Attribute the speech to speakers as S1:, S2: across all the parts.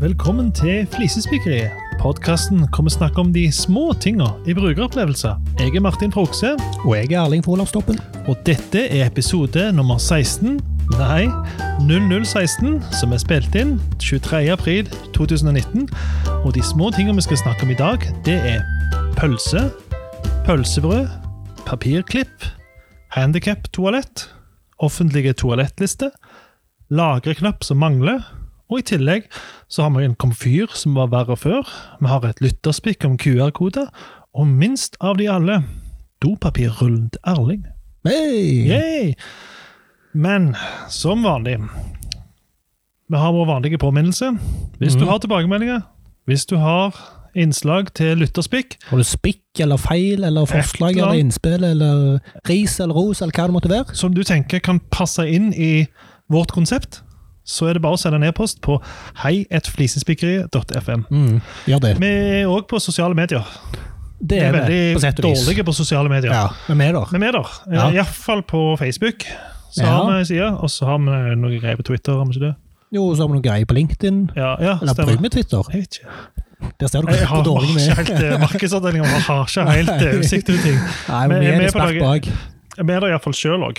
S1: Velkommen til Flisespikkeriet. Podkasten hvor vi snakker om de små tinga i brukeropplevelser. Jeg er Martin Frokse,
S2: Og jeg er Erling Folavstoppen.
S1: og dette er episode nummer 16. Nei, 0016, som er spilt inn 23. april 2019. Og de små tinga vi skal snakke om i dag, det er pølse, pølsebrød, papirklipp, handikap-toalett, offentlige toalettlister, lagreknapp som mangler, og i tillegg så har vi en komfyr som var verre før, vi har et lytterspikk om QR-koder, og minst av de alle, dopapirrullen til Erling.
S2: Hey!
S1: Yay! Men som vanlig Vi har vår vanlige påminnelse. Hvis du har tilbakemeldinger, hvis du har innslag til lytterspikk
S2: Har du spikk eller feil eller forslag
S1: eller
S2: eller
S1: annet.
S2: innspill eller ris eller ros eller hva det måtte være?
S1: som du tenker kan passe inn i vårt konsept, så er det bare å sende en e-post på heietflisespikkeriet.fm.
S2: Mm, Gjør det.
S1: Vi er òg på sosiale medier.
S2: Det
S1: Vi er
S2: er vi,
S1: veldig
S2: på sett og vis.
S1: dårlige på sosiale medier.
S2: Ja, men vi er der.
S1: Men vi er der. Eh,
S2: Ja.
S1: Iallfall på Facebook. Så
S2: Ja.
S1: har vi en side, og så har vi noe greier på Twitter. har vi ikke det?
S2: Jo, så har vi noe greier på LinkedIn.
S1: Ja, ja
S2: Eller bruk
S1: stemmer.
S2: med Twitter.
S1: Jeg vet ikke.
S2: Der ser du
S1: Jeg
S2: hvor
S1: har
S2: dårlig vi
S1: ikke
S2: er.
S1: helt eh, markedsavdelingen vår har ikke helt eh,
S2: Nei.
S1: oversikt over ting.
S2: Nei,
S1: Men
S2: men vi
S1: jeg er
S2: er
S1: med
S2: litt
S1: på laget.
S2: sterkt bak.
S1: Vi er der iallfall sjøl òg.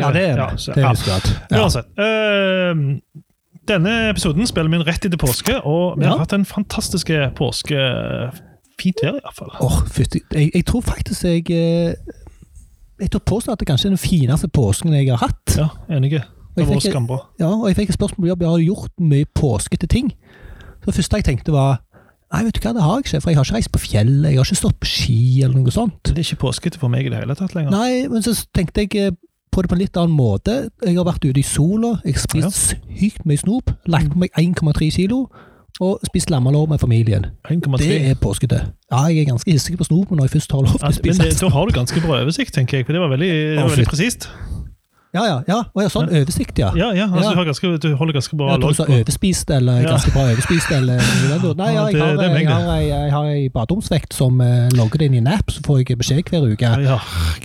S2: Ja, det er
S1: så-
S2: det. Det
S1: Eh, ja.
S2: er huskert. Ja.
S1: Uansett. eh, denne episoden spiller vi inn rett etter påske, og vi
S2: Ja.
S1: har hatt en fantastisk påske. Fint vær, iallfall.
S2: Åh, fytti. Jeg, jeg tror faktisk jeg eh, Jeg tror påstå at det kanskje er den fineste påsken jeg har hatt.
S1: Ja, enige. Det
S2: Jeg
S1: var
S2: tenker-
S1: skambra.
S2: Ja, og jeg fikk et spørsmål på jobb. Jeg har gjort mye påskete ting. Så det første jeg tenkte var Nei, vet du hva, det har jeg ikke, for jeg har ikke reist på fjellet, jeg har ikke stått på ski eller noe sånt.
S1: Det er ikke påskete for meg i det hele tatt lenger.
S2: Nei, men så tenkte jeg eh, på det på en litt annen måte. Jeg har vært ute i sola, jeg har spist sykt mye snop, lagt på meg 1,3 kilo, og spist lammelår med familien.
S1: 1,3.
S2: Det er påskete. Ja, jeg er ganske hissig på snop når jeg først har lov til
S1: Ja,
S2: å
S1: men
S2: spise.
S1: det, da har du ganske bra oversikt, tenker jeg. For det var veldig, det var
S2: Å,
S1: veldig
S2: fy-
S1: presist.
S2: Ja, ja, ja. Og jeg har sånn oversikt, ja.
S1: Ja, ja, altså,
S2: Ja.
S1: Du, har ganske, du holder ganske bra
S2: Jeg tror
S1: logg
S2: du sa
S1: på-
S2: overspist, eller
S1: Ja.
S2: ganske bra overspist, eller noe sånt. Nei,
S1: Ja,
S2: ja,
S1: det-
S2: jeg har,
S1: det er meg,
S2: jeg har, ei- jeg har ei baderomsvekt som eh, logger det inn i en app, så får jeg beskjed hver uke
S1: Ja, ja.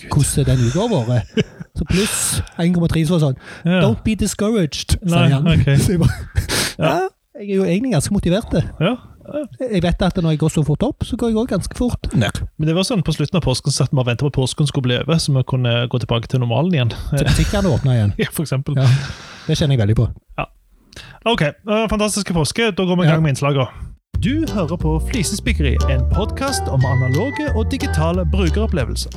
S2: hvordan den uka har vært. Så pluss 1,3 så var det sånn
S1: Ja.
S2: Don't be discouraged,
S1: Nei,
S2: sier han.
S1: ok.
S2: Så jeg bare Ja, jeg er jo egentlig ganske motivert. det.
S1: ja.
S2: Jeg vet at når jeg går så fort opp, så går jeg òg ganske fort ned.
S1: Men det var sånn på slutten av påsken så satt vi og ventet på at påsken skulle bli over, så vi kunne gå tilbake til normalen igjen.
S2: Så butikkene åpner igjen.
S1: Ja, for eksempel.
S2: Ja, det kjenner jeg veldig på.
S1: Ok, eh, fantastiske påske. Da går vi i
S2: Ja.
S1: gang med innslagene. Du hører på Flisespikkeri, en podkast om analoge og digitale brukeropplevelser.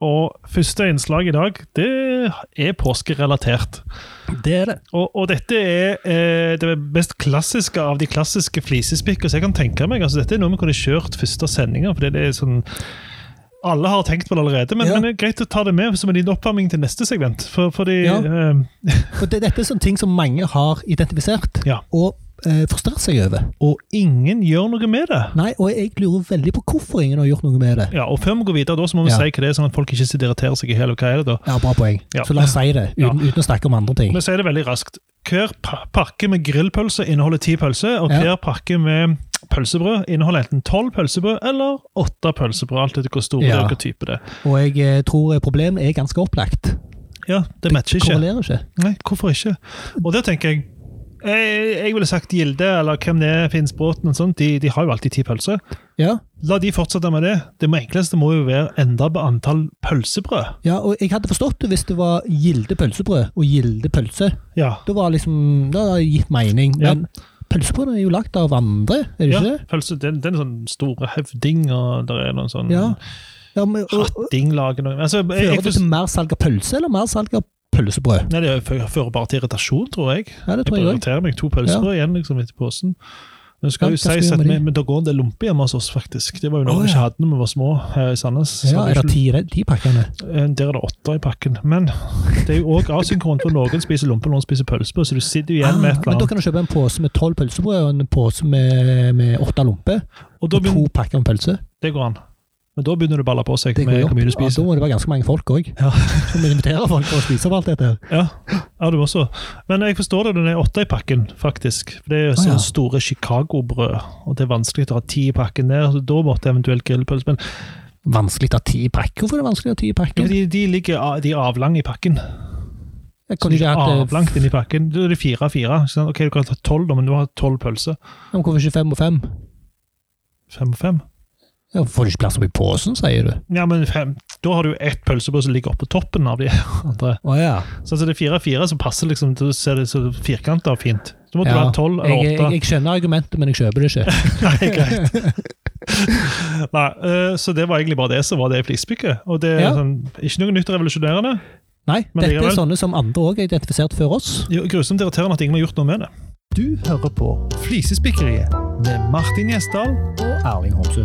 S1: Og første innslag i dag, det er påskerelatert.
S2: Det er det.
S1: Og, og dette er eh, det mest klassiske av de klassiske flisespikker som jeg kan tenke meg. Altså, dette er noe vi kunne kjørt første sendinga, for det er sånn Alle har tenkt på det allerede, men,
S2: Ja.
S1: men det er greit å ta det med som en liten oppvarming til neste segment. For, fordi
S2: Ja.
S1: eh,
S2: For det, dette er sånne ting som mange har identifisert,
S1: Ja.
S2: og eh, forstørret seg over.
S1: Og ingen gjør noe med det.
S2: Nei, og jeg lurer veldig på hvorfor ingen har gjort noe med det.
S1: Ja, og Før vi går videre, da, så må vi
S2: Ja.
S1: si hva det er, sånn at folk ikke sitter og irriterer seg i hjel. Hva er det da?
S2: Ja, bra poeng.
S1: Ja.
S2: Så la oss si det, uten, uten å snakke om andre ting.
S1: Vi sier det veldig raskt. Hver pa- pakke med grillpølse inneholder ti pølser, og
S2: Ja.
S1: hver pakke med pølsebrød inneholder enten tolv pølsebrød eller åtte pølsebrød. Alt etter hvor store
S2: Ja.
S1: det er, og hva type det er.
S2: Og jeg eh, tror problemet er ganske opplagt.
S1: Ja, det matcher ikke.
S2: Korrelerer ikke.
S1: Nei, hvorfor ikke? Og der tenker jeg jeg, jeg ville sagt Gilde eller hvem det er, Finnsbråten og sånt. De, de har jo alltid ti pølser.
S2: Ja.
S1: La de fortsette med det. Det må- enkleste må jo være enda på antall pølsebrød.
S2: ja, og jeg hadde forstått det hvis det var Gilde pølsebrød og Gilde pølse.
S1: Ja.
S2: Da var liksom, da hadde det gitt mening.
S1: Ja.
S2: Men pølsebrød er jo lagd av andre, er det
S1: Ja,
S2: ikke det?
S1: pølse, den, den er sånn store høvding, og der er noen sånn
S2: Ja. ja men, og, og,
S1: hatting lager noe. Altså, jeg,
S2: fører
S1: jeg,
S2: det til mer salg av pølse eller mer salg av pølsebrød?
S1: nei, det fører fører bare til irritasjon, tror jeg.
S2: Ja, det
S1: Jeg
S2: tror jeg
S1: bare
S2: òg.
S1: irriterer meg. To pølsebrød igjen liksom, etter posen. Men det
S2: Ja,
S1: skal jo
S2: hva skal
S1: sies
S2: vi
S1: at
S2: gjøre
S1: vi,
S2: med de?
S1: men det går en del lomper hjemme hos oss, faktisk. Det var jo noe
S2: Å,
S1: vi
S2: ja.
S1: ikke hadde når vi var små her i Sandnes. Så
S2: Ja,
S1: hadde vi
S2: er det ti i de pakkene?
S1: ikke- eh, der er det åtte i pakken. Men det er jo òg asynkron, for noen spiser lompe, noen spiser pølsebrød, så du sitter jo igjen med
S2: Ah,
S1: et
S2: men
S1: eller
S2: da
S1: annet.
S2: kan du kjøpe en pose med tolv pølsebrød og en pose med, med åtte lomper.
S1: Og da
S2: Og to
S1: begynner,
S2: pakker med pølse.
S1: det går an. Men da begynner det å balle på seg
S2: Det går
S1: med
S2: jo
S1: hvor
S2: opp.
S1: mye du
S2: Ja, da
S1: spiser.
S2: må det være ganske mange folk òg.
S1: Ja.
S2: Som inviterer folk for å spise opp alt dette. her.
S1: Ja, ja du også. Men jeg forstår det, den er åtte i pakken, faktisk. For Det er jo
S2: Å,
S1: sånne
S2: ja.
S1: store Chicago-brød, og det er vanskelig å ha ti i pakken der. så Da måtte eventuelt grillpølse. Men
S2: Vanskelig å ha ti pakker. Hvorfor er det vanskelig å ha ti
S1: jo,
S2: pakker?
S1: de, de ligger a- de er avlange i pakken.
S2: Jeg
S1: Så
S2: kunne
S1: det er
S2: ikke hatt eh,
S1: avlangt inn i pakken. Da er det fire av fire. ikke sant? Ok, du kan ta tolv, da, men du har tolv pølser.
S2: men Hvorfor ikke fem og fem?
S1: Fem og fem.
S2: Ja, får du ikke plass oppi posen, sier du?
S1: Ja, men fem. Da har du jo ett pølsebrød som ligger oppå toppen av de andre.
S2: Å ja.
S1: Sånn som det er fire av fire, så passer liksom, da ser det så firkanta og fint. Så måtte
S2: Ja,
S1: du ha tolv
S2: Jeg,
S1: eller
S2: jeg,
S1: åtte.
S2: jeg skjønner argumentet, men jeg kjøper det ikke.
S1: Nei, greit. Nei, eh, så det var egentlig bare det som var det flisbykket. Og det er
S2: Ja.
S1: sånn, ikke noe nytt og revolusjonerende.
S2: Nei,
S1: Men
S2: dette er
S1: likevel.
S2: sånne som andre òg er identifisert før oss.
S1: Jo, Grusomt irriterende at ingen har gjort noe med det. Du hører på Flisespikkeriet med Martin Gjesdal,
S2: Og Erling Homsø.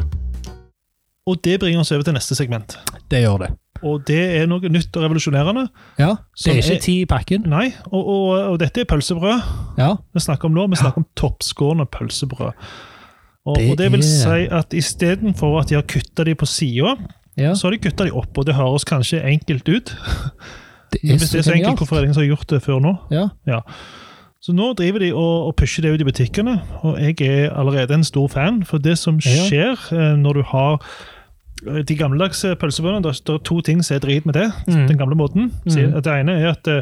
S1: og det bringer oss over til neste segment.
S2: Det gjør det.
S1: Og det er noe nytt og revolusjonerende.
S2: Ja, Det
S1: Som
S2: er ikke
S1: er-
S2: ti i pakken.
S1: Nei, og, og, og dette er pølsebrød
S2: Ja,
S1: vi snakker om nå. Vi snakker om toppskårende pølsebrød. Og det,
S2: Det
S1: og det vil
S2: er-
S1: si at istedenfor at de har kutta de på sida,
S2: ja.
S1: så har de kutta de opp. Og det høres kanskje enkelt ut,
S2: Det
S1: Men
S2: er
S1: Hvis
S2: så
S1: det er så enkelt,
S2: genialt.
S1: hvorfor er det ingen som har gjort det før nå?
S2: Ja.
S1: Så nå driver de og, og pusher det ut i butikkene, og jeg er allerede en stor fan. For det som
S2: Ja.
S1: skjer eh, når du har eh, de gammeldagse pølsebøndene Det er- det er to ting som er drit med det,
S2: Mm.
S1: den gamle måten.
S2: Mhm.
S1: At det ene er at eh,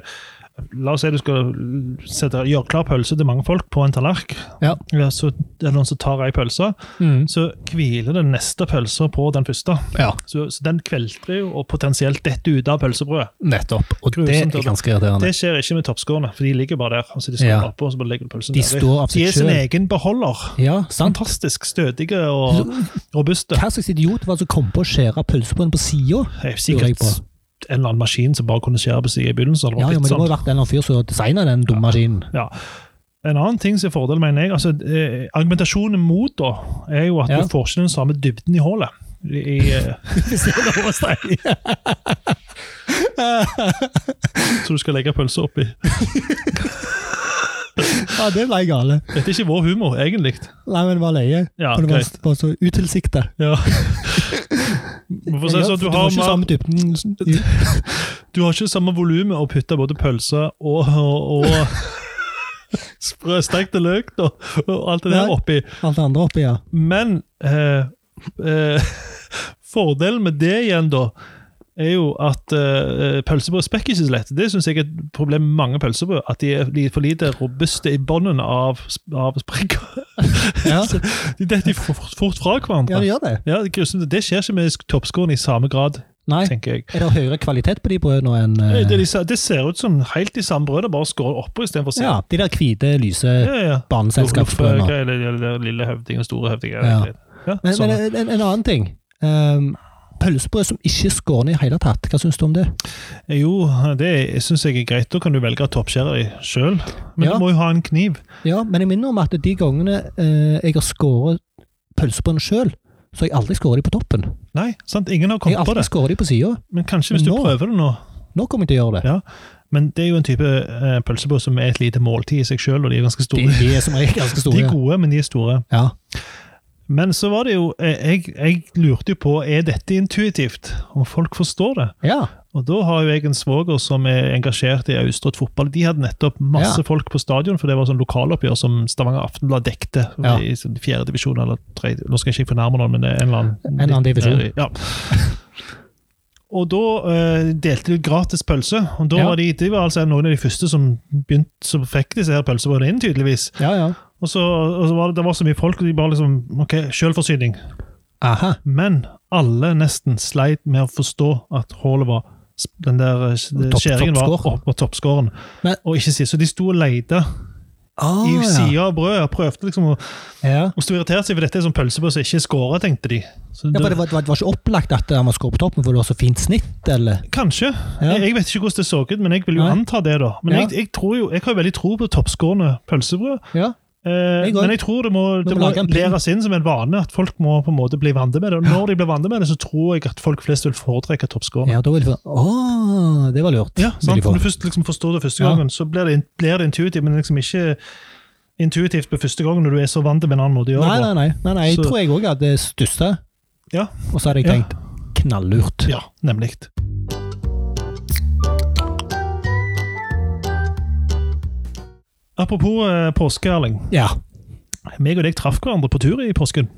S1: La oss si du skal sette, gjøre klar pølse til mange folk på en tallerken.
S2: Ja.
S1: så er det noen som tar ei pølse.
S2: Mm.
S1: Så hviler den neste pølsa på den første.
S2: ja,
S1: Så, så den kvelter jo og potensielt detter ut av pølsebrødet.
S2: nettopp. Og det
S1: Grusomt, altså.
S2: er ganske irriterende.
S1: Det skjer ikke med toppskårene, for de ligger bare der. Altså de står
S2: Ja.
S1: oppe, og så bare legger du pølsen
S2: De
S1: der.
S2: står av
S1: De
S2: seg
S1: er sin
S2: sjøl.
S1: egen beholder.
S2: Ja, sant.
S1: Fantastisk stødige og robuste.
S2: Hva slags idiot var det som kom på å skjære pølsebånd på sida?
S1: Det er
S2: Lurer jeg
S1: sikkert
S2: på.
S1: en eller annen maskin som bare kunne skjære på siden i begynnelsen.
S2: Ja,
S1: Ja,
S2: ja, men det må
S1: sånn.
S2: ha vært en eller annen fyr som designa den dumme maskinen.
S1: ja. En annen ting som er fordel, mener jeg, altså eh, argumentasjonen mot da, er jo at
S2: Ja.
S1: du får ikke den samme dybden i hullet. I, i, eh,
S2: Hvis det er lov å si.
S1: så du skal legge pølser oppi.
S2: Ja, det ble gale.
S1: Dette er ikke vår humor, egentlig.
S2: Nei, men det var leie.
S1: Ja,
S2: For det var,
S1: greit.
S2: var så utilsikta.
S1: Ja. Men for å si det sånn, du
S2: det
S1: har
S2: var ikke
S1: mer-
S2: samme dybden.
S1: Du har ikke samme volumet å putte både pølse og, og, og sprøstekte løk da, og alt det der
S2: Nei.
S1: oppi.
S2: Alt det andre oppi, ja.
S1: Men eh, eh, fordelen med det igjen, da, er jo at eh, pølsebrød spekker ikke så lett. Det syns jeg er et problem med mange pølsebrød. At de er, de er for lite robuste i bånden av, sp- av sprekker.
S2: Ja,
S1: De detter fort, fort fra
S2: ja
S1: hverandre.
S2: det
S1: Ja,
S2: gjør det.
S1: det, er grusomt. det skjer ikke med sk- toppskårene i samme grad,
S2: Nei.
S1: tenker jeg.
S2: Er det høyere kvalitet på de brødene enn
S1: Nei, Det,
S2: eh,
S1: er de sa- det ser ut som helt de samme brødene, bare skåret oppå istedenfor siden.
S2: Ja, de der hvite, lyse
S1: Ja, ja. Hvorfor-
S2: barneselskapsbrødene.
S1: hva er det- det- det Lille høvding og store høvding. er det
S2: Ja.
S1: greit. Ja,
S2: Men,
S1: sånn.
S2: men en, en annen ting. Um, pølsebrød som ikke er skårne i det hele tatt. Hva syns du om det?
S1: Eh, Jo, det syns jeg er greit. Da kan du velge å toppskjære deg sjøl. Men
S2: Ja.
S1: du må jo ha en kniv.
S2: Ja, men jeg minner om at de gangene eh, jeg har skåret pølsebrødene sjøl, så har jeg aldri skåret de på toppen.
S1: Nei, sant? ingen har
S2: Jeg har
S1: kommet på
S2: alltid
S1: det.
S2: skåret de på sida.
S1: Men kanskje hvis du
S2: Men nå-
S1: prøver det nå.
S2: Nå kommer jeg til å gjøre det.
S1: Ja. Men det er jo en type eh, pølsebrød som er et lite måltid i seg sjøl, og de er ganske
S2: De,
S1: store.
S2: de er som regel ganske
S1: De er
S2: store.
S1: gode, men de er store.
S2: Ja.
S1: Men så var det jo eh, Jeg, jeg lurte jo på er dette intuitivt, om folk forstår det.
S2: ja.
S1: Og da har jo jeg en svoger som er engasjert i Austrått fotball. De hadde nettopp masse
S2: Ja.
S1: folk på stadion, for det var sånn lokaloppgjør som Stavanger Aftenblad dekte.
S2: Ja.
S1: I sånn fjerde divisjon eller tredje Nå skal jeg ikke fornærme noen, men det er en eller annen
S2: En eller annen divisjon.
S1: Nedi- Ja. Og da eh, delte de ut gratis pølse. Og da
S2: Ja.
S1: var de, de var altså noen av de første som, begynt, som fikk disse her pølsebrødene inn, tydeligvis.
S2: ja, ja.
S1: Og så, og så var det, det var så mye folk, og de bare liksom OK, sjølforsyning.
S2: Aha.
S1: Men alle nesten sleit med å forstå at hullet var den der eh,
S2: Topp-
S1: skjæringen var
S2: toppskår.
S1: opp på toppskåren.
S2: Men-
S1: Og ikke sist. Så de sto og leide
S2: Ah,
S1: i sida av brødet og prøvde liksom å
S2: Ja.
S1: og sto irritert seg, for dette er sånn pølsebrød som ikke er skåra, tenkte de. Så
S2: Ja,
S1: det-
S2: for det var, det var- det var ikke opplagt at han var skåret på toppen, for det var så fint snitt, eller?
S1: Kanskje.
S2: Ja.
S1: Jeg, jeg vet ikke hvordan det så ut, men jeg vil jo
S2: Nei.
S1: anta det, da. Men
S2: Ja.
S1: jeg, jeg, tror jo, jeg har jo veldig tro på toppskårende pølsebrød.
S2: Ja.
S1: Eh,
S2: Jeg går-
S1: men jeg tror det må,
S2: må
S1: det må
S2: lage en pin.
S1: læres inn som en vane, at folk må på en måte bli vant med det. Og når de blir vant med det, så tror jeg at folk flest vil foretrekke toppskårende.
S2: ja da vil jeg få Å, det var lurt.
S1: Ja,
S2: vil
S1: sant?
S2: jeg få.
S1: Når du først liksom forstår det første
S2: Ja.
S1: gangen, så blir det, blir det intuitivt, men liksom ikke intuitivt på første gangen når du er så vant til en annen måte å gjøre
S2: Nei,
S1: det på.
S2: nei, nei. nei, nei. Jeg
S1: Så-
S2: tror jeg òg hadde stussa,
S1: Ja.
S2: og så hadde jeg
S1: Ja.
S2: tenkt knallurt.
S1: Ja, nemlig. Apropos eh, påske, Erling.
S2: Ja.
S1: Meg og deg traff hverandre på tur i påsken.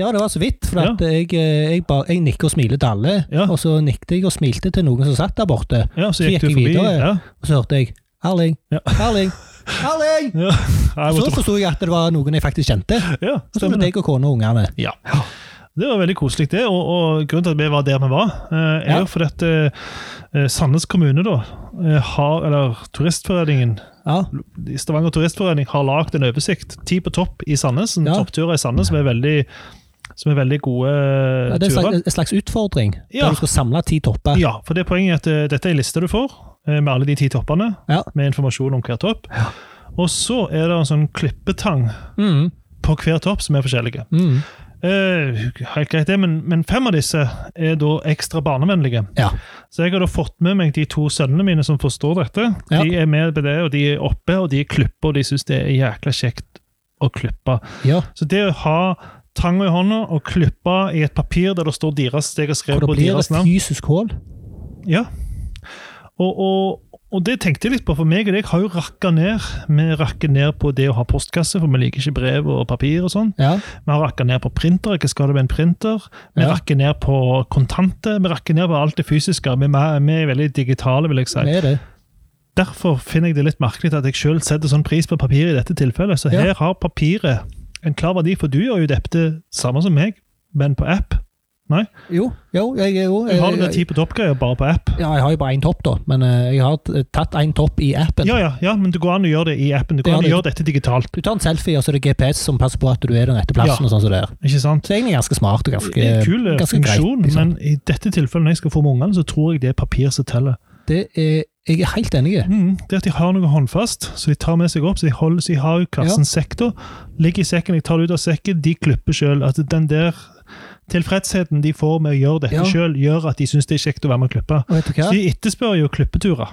S2: Ja, det var så vidt, for
S1: Ja.
S2: at jeg, eh, jeg, ba- jeg nikker og smiler til alle.
S1: Ja.
S2: Og så nikket jeg og smilte til noen som satt der borte.
S1: Ja, Så
S2: Så
S1: gikk,
S2: gikk jeg
S1: du forbi.
S2: videre.
S1: Ja.
S2: Og så hørte jeg Erling!
S1: Ja.
S2: Erling! Erling!
S1: Ja, jeg
S2: Så
S1: måtte,
S2: forsto jeg at det var noen jeg faktisk kjente.
S1: ja,
S2: Og så
S1: stemmer det.
S2: var det deg og kona og ungene.
S1: Ja. Det var veldig koselig, det. Og, og grunnen til at vi var der vi var, eh, er
S2: Ja.
S1: jo fordi at eh, Sandnes kommune, da, eh, har, eller Turistforeningen
S2: Ja.
S1: Stavanger Turistforening har lagd en oversikt. Ti på topp i Sandnes. En
S2: Ja.
S1: toppturer i Sandnes som er veldig, som er veldig gode eh,
S2: Ja, Det er en
S1: turer.
S2: slags, en slags utfordring,
S1: Ja.
S2: der du skal samle ti topper.
S1: Ja, for det er poenget at eh, dette er en liste du får, eh, med alle de ti toppene.
S2: Ja.
S1: Med informasjon om hver topp. Og så er det en sånn klippetang
S2: Mm,
S1: på hver topp som er forskjellige.
S2: mm.
S1: Eh, helt greit det, men, men fem av disse er da ekstra barnevennlige.
S2: Ja.
S1: Så jeg har da fått med meg de to sønnene mine som forstår dette.
S2: Ja.
S1: De er med på det, og de er oppe, og de klipper, og de syns det er jækla kjekt å klippe.
S2: ja.
S1: Så det å ha tanga i hånda og klippe i et papir der det står deres Jeg har
S2: For
S1: skrevet
S2: da
S1: på
S2: blir det
S1: deres navn.
S2: fysisk hull.
S1: Ja. Og, og, og det tenkte jeg litt på, for meg og deg har jo rakka ned. Vi rakker ned på det å ha postkasse, for vi liker ikke brev og papir og sånn.
S2: Ja.
S1: Vi har rakka ned på printer, hva skal det med en printer? Vi
S2: Ja.
S1: rakker ned på kontanter, vi rakker ned på alt det fysiske. Vi, vi er veldig digitale, vil jeg si.
S2: Det er det.
S1: Derfor finner jeg det litt merkelig at jeg selv setter sånn pris på papir i dette tilfellet. Så
S2: Ja.
S1: her har papiret en klar verdi, for du gjør jo dette samme som meg, men på app.
S2: Jo, jo, jeg er jo eh,
S1: Du har det ti på topp-greia, bare på app.
S2: Ja, jeg har jo bare én topp, da, men eh, jeg har t- tatt én topp i appen.
S1: Ja, ja, ja, men det går an å gjøre det i appen. Det
S2: Det
S1: går an å
S2: har du.
S1: gjøre dette digitalt,
S2: Du tar en selfie, og så er det GPS som passer på at du er den rette plassen.
S1: Ja.
S2: og sånn som det er.
S1: ikke sant?
S2: Så egentlig ganske smart og ganske,
S1: Det er en kul eh,
S2: ganske
S1: funksjon,
S2: greit. Liksom.
S1: men i dette tilfellet, når jeg skal få med ungene, så tror jeg det er papir som teller.
S2: Det er, jeg er helt enig.
S1: Mm, det at de har noe håndfast, så de tar med seg opp, så de, holder, så de har jo kassen sekk da. Ligger i sekken, jeg tar det ut av sekken, de klipper sjøl. At den der tilfredsheten de får med å gjøre dette
S2: Ja.
S1: selv, gjør at de syns det er kjekt å være med og klippe.
S2: Og vet du hva?
S1: Så de etterspør jo klippeturer.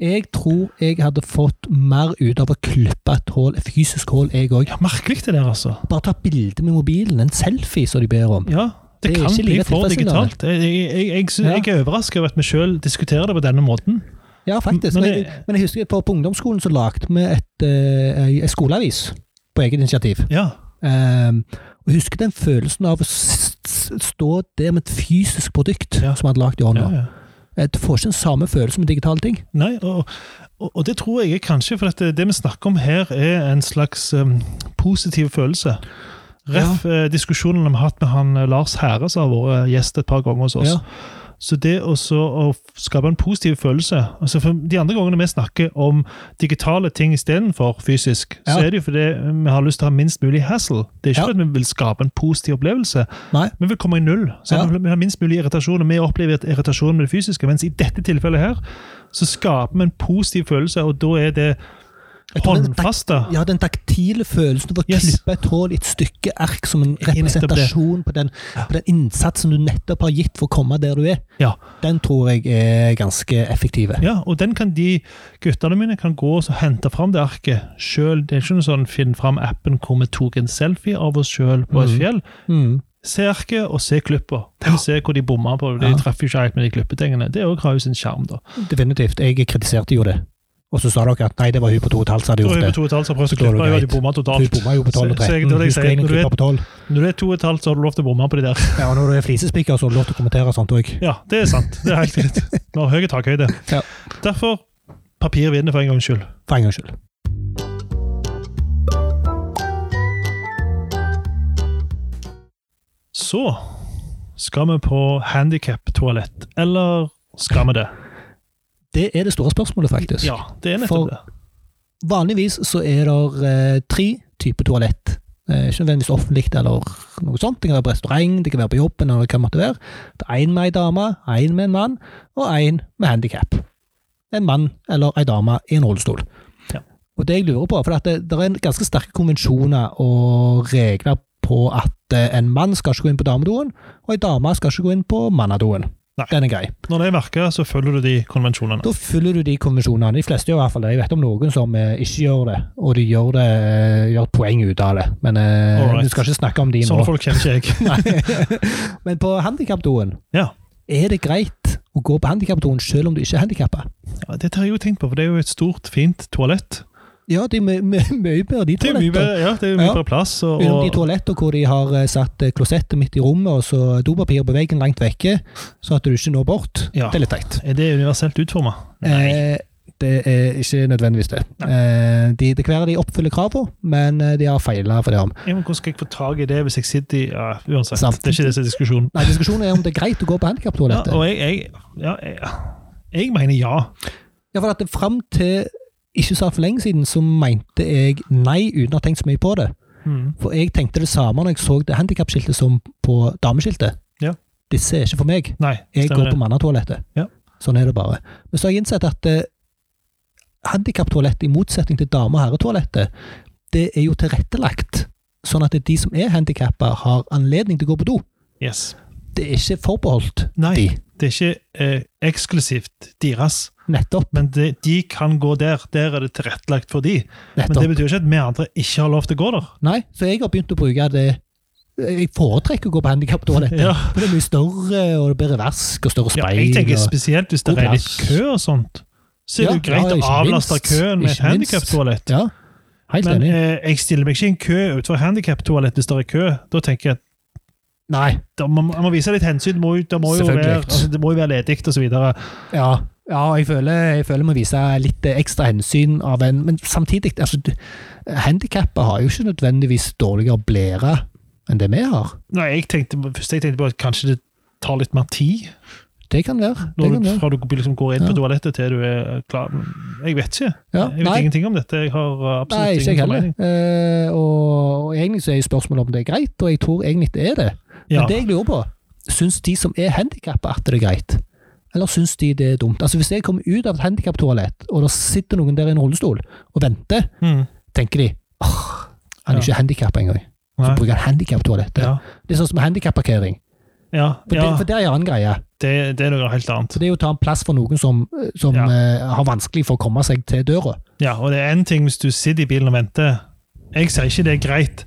S2: Jeg tror jeg hadde fått mer ut av å klippe et hull, et fysisk hull, jeg òg.
S1: Ja, merkelig det der, altså.
S2: Bare ta bilde med mobilen, en selfie, som de ber om.
S1: Ja, det,
S2: Det er
S1: kan
S2: ikke
S1: bli
S2: like
S1: for
S2: tilfredsstillende.
S1: digitalt. Jeg, jeg, jeg, jeg, syns-
S2: Ja.
S1: jeg er overrasket over at vi sjøl diskuterer det på denne måten.
S2: Ja, faktisk.
S1: Men
S2: Men,
S1: det-
S2: jeg, men jeg husker på, på ungdomsskolen så lagde vi et, eh, en skoleavis på eget initiativ.
S1: Ja,
S2: Ehm, og jeg husker den følelsen av å s- s- stå der med et fysisk produkt
S1: Ja.
S2: som vi hadde lagd i
S1: ja,
S2: hånda.
S1: ja.
S2: Eh, Du får ikke den samme følelsen med digitale ting.
S1: Nei, og, og, og det tror jeg er kanskje, for at det, det vi snakker om her, er en slags um, positiv følelse. Ref eh, diskusjonen vi har hatt med han eh, Lars Herre, som har vært eh, gjest et par ganger hos oss.
S2: Ja.
S1: Så det å så å skape en positiv følelse altså for De andre gangene vi snakker om digitale ting istedenfor fysisk, så
S2: Ja.
S1: er det jo fordi eh, vi har lyst til å ha minst mulig hassle. Det er ikke
S2: Ja.
S1: fordi vi vil skape en positiv opplevelse.
S2: Nei.
S1: Vi vil komme i null. Så
S2: Ja.
S1: vi vil- vi har minst mulig irritasjon, og vi opplever et irritasjon med det fysiske. Mens i dette tilfellet her, så skaper vi en positiv følelse, og da er det
S2: Jeg tror den tak-
S1: håndfaste.
S2: Ja, den taktile følelsen av å
S1: Yes.
S2: klippe et hull i et stykke ark som en
S1: Nettopp det.
S2: representasjon på den, på den innsatsen du nettopp har gitt for å komme der du er,
S1: Ja.
S2: den tror jeg er ganske effektive.
S1: ja, og den kan de guttene mine kan gå og så hente fram det arket sjøl. Det er ikke noe sånn finn fram appen hvor vi tok en selfie av oss sjøl på et
S2: Mhm.
S1: fjell.
S2: Mm.
S1: Se arket og se klippa. Se hvor de bomma på. De
S2: Ja.
S1: treffer jo ikke helt med de klippetingene. Det òg har jo sin sjarm, da.
S2: Definitivt. Jeg kritiserte jo det. Og så sa dere at nei, det var hun på to og et halvt som hadde
S1: Da er vi
S2: gjort det.
S1: to og et halvt som har prøvd å
S2: Da er det
S1: klippe, og de
S2: greit.
S1: bomma
S2: Hun
S1: totalt.
S2: bomma jo på 12 og
S1: Så- så jeg- det er
S2: 13. Hun
S1: det jeg sier.
S2: skulle egentlig
S1: Når du
S2: klippe
S1: vet-
S2: på 12.
S1: Når du er to og et halvt, så har du lov til å bomme på de der.
S2: Ja, og når du er flisespikker, så har du lov til å kommentere sånt òg.
S1: Ja, det er sant. Det er helt greit. Vi har høy takhøyde.
S2: Ja.
S1: Derfor papir vinner for en gangs skyld.
S2: For en gangs skyld.
S1: Så skal vi på handikap-toalett. Eller skal vi det?
S2: Det er det store spørsmålet, faktisk.
S1: Ja, det er nettopp
S2: For-
S1: det.
S2: Vanligvis så er det eh, tre typer toalett. Eh, ikke nødvendigvis offentlig eller noe sånt. Det kan være på restaurant, det kan være på jobben, eller hva det måtte være. Det er én med ei dame, én med en mann, og én med handikap. En mann eller ei dame i en rullestol.
S1: Ja.
S2: Og det jeg lurer på, for at det, det er en ganske sterke konvensjoner og regler på at eh, en mann skal ikke gå inn på damedoen, og ei dame skal ikke gå inn på mannadoen.
S1: Nei.
S2: Den er grei.
S1: Når det er merka, så følger du de konvensjonene.
S2: Da følger du de konvensjonene. De fleste gjør i hvert fall det. Jeg vet om noen som eh, ikke gjør det, og de gjør, det, eh, gjør et poeng ut av det. Men eh,
S1: Alright.
S2: vi skal ikke snakke om de nå.
S1: Sånne folk kjenner ikke jeg.
S2: Men på handikapdoen,
S1: Ja.
S2: er det greit å gå på handikapdoen selv om du ikke er handikappa?
S1: Ja, dette har jeg jo tenkt på, for det er jo et stort, fint toalett.
S2: Ja, det er my- my- mye bedre de
S1: Det er mye
S2: toaletter.
S1: bedre, ja, det er mye
S2: Ja.
S1: bedre plass. Og,
S2: Utenom de
S1: og,
S2: toaletter hvor de har eh, satt eh, klosettet midt i rommet og så dopapir på veggen langt vekke, så at du ikke når bort.
S1: Ja.
S2: Det er litt teit.
S1: er det universelt utforma?
S2: Eh, Det er ikke nødvendigvis det. Eh, de, det kan være de oppfyller kravene, men eh, de har feila for det. om.
S1: Ja, men Hvordan skal jeg få tak i det hvis jeg sitter i ja, Uansett,
S2: Sant.
S1: det er ikke det som er diskusjonen.
S2: Nei, Diskusjonen er om det er greit å gå på
S1: Ja,
S2: handikaptoalettet.
S1: og jeg, jeg, ja, jeg, jeg mener ja.
S2: Ja, for at det Fram til ikke så altfor lenge siden så mente jeg nei, uten å ha tenkt så mye på det.
S1: Mm.
S2: For jeg tenkte det samme når jeg så det handikapskiltet som på dameskiltet.
S1: Ja.
S2: Disse er ikke for meg.
S1: Nei,
S2: Jeg
S1: stemmer
S2: går på
S1: det.
S2: mannetoalettet.
S1: Ja.
S2: Sånn er det bare. Men så har jeg innsett at eh, handikaptoalettet, i motsetning til dame- og herretoalettet, det er jo tilrettelagt. Sånn at de som er handikappa, har anledning til å gå på do.
S1: Yes.
S2: Det er ikke forbeholdt
S1: Nei,
S2: de.
S1: det er ikke eh, eksklusivt deres,
S2: Nettopp.
S1: men det, de kan gå der. Der er det tilrettelagt for de. Men
S2: nettopp.
S1: det betyr ikke at vi andre ikke har lov til å gå der.
S2: Nei, så jeg har begynt å bruke det Jeg foretrekker å gå på handikaptoalettet.
S1: Ja.
S2: For det er mye større, og det er bedre vask og større
S1: Ja,
S2: speil.
S1: jeg tenker
S2: og...
S1: spesielt hvis det
S2: god
S1: er litt
S2: plass.
S1: kø og sånt. Så er
S2: Ja,
S1: det jo greit
S2: ja,
S1: å
S2: ikke
S1: avlaste
S2: minst.
S1: køen med et
S2: Ikke minst.
S1: handikaptoalett.
S2: Ja, helt
S1: Men
S2: enig.
S1: eh, jeg stiller meg ikke i en kø utenfor handikaptoalett hvis det er kø. Da tenker jeg at
S2: Nei.
S1: da må, man må vise litt hensyn. Det må, jo- det må jo være,
S2: Selvfølgelig.
S1: altså, det må jo være ledig og så videre.
S2: Ja, ja jeg føler jeg føler jeg må vise litt ekstra hensyn av en Men samtidig, altså, handikappa har jo ikke nødvendigvis dårligere blære enn det vi har.
S1: Nei, jeg tenkte, først jeg tenkte på at kanskje det tar litt mer tid
S2: Det kan være. Det
S1: når
S2: kan
S1: du,
S2: være.
S1: fra du liksom går inn på
S2: Ja.
S1: toalettet til du er eh, klar. Men Jeg vet ikke.
S2: Ja,
S1: Jeg vet
S2: nei.
S1: ingenting om dette. Jeg har uh, absolutt
S2: Nei, ikke jeg
S1: ingen
S2: heller.
S1: formening.
S2: Eh, og, og egentlig så er jo spørsmålet om det er greit, og jeg tror egentlig det er det.
S1: Ja.
S2: Men det jeg lurer på, syns de som er handikappa at det er greit? Eller syns de det er dumt? Altså Hvis jeg kommer ut av et handikaptoalett, og det sitter noen der i en rullestol og venter,
S1: Mm.
S2: tenker de åh, han er ikke handikappa engang. Så
S1: Nei.
S2: bruker han handikaptoalettet.
S1: Ja.
S2: Det er sånn som handikapparkering.
S1: Ja,
S2: For,
S1: ja.
S2: det- for det er en annen greie.
S1: Det, det er noe helt annet.
S2: Så det er jo å ta en plass for noen som, som
S1: Ja.
S2: eh, har vanskelig for å komme seg til døra.
S1: Ja, og det er én ting hvis du sitter i bilen og venter. Jeg sier ikke det er greit,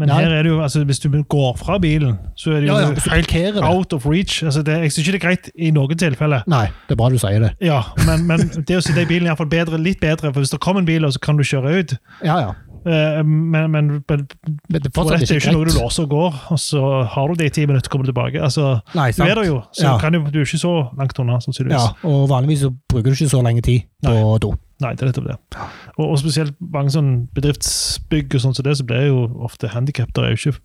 S1: men
S2: Nei.
S1: her er det jo, altså, hvis du går fra bilen, så er det jo
S2: Ja, ja, hvis du
S1: helt
S2: parkerer det.
S1: out of reach. Altså, det, jeg syns ikke det er greit i noen tilfelle.
S2: Nei, det er bra du sier det.
S1: Ja, men, men det å sitte i bilen er iallfall bedre, litt bedre, for hvis det kommer en bil, og så kan du kjøre ut.
S2: Ja, ja.
S1: Eh, Men, men, men
S2: Men det er
S1: toalettet
S2: fortsatt
S1: er jo
S2: ikke
S1: ikke noe du
S2: greit.
S1: låser og går, og så har du det i ti minutter, kommer du tilbake. Altså,
S2: Nei,
S1: du
S2: sant.
S1: er der jo, så
S2: Ja.
S1: kan du, du er ikke så langt unna, sannsynligvis.
S2: Ja, og vanligvis så bruker du ikke så lenge tid på do.
S1: Nei, det er nettopp det. Og, og spesielt mange sånn bedriftsbygg og sånn som det, så blir jo ofte handikap. Det er jo ikke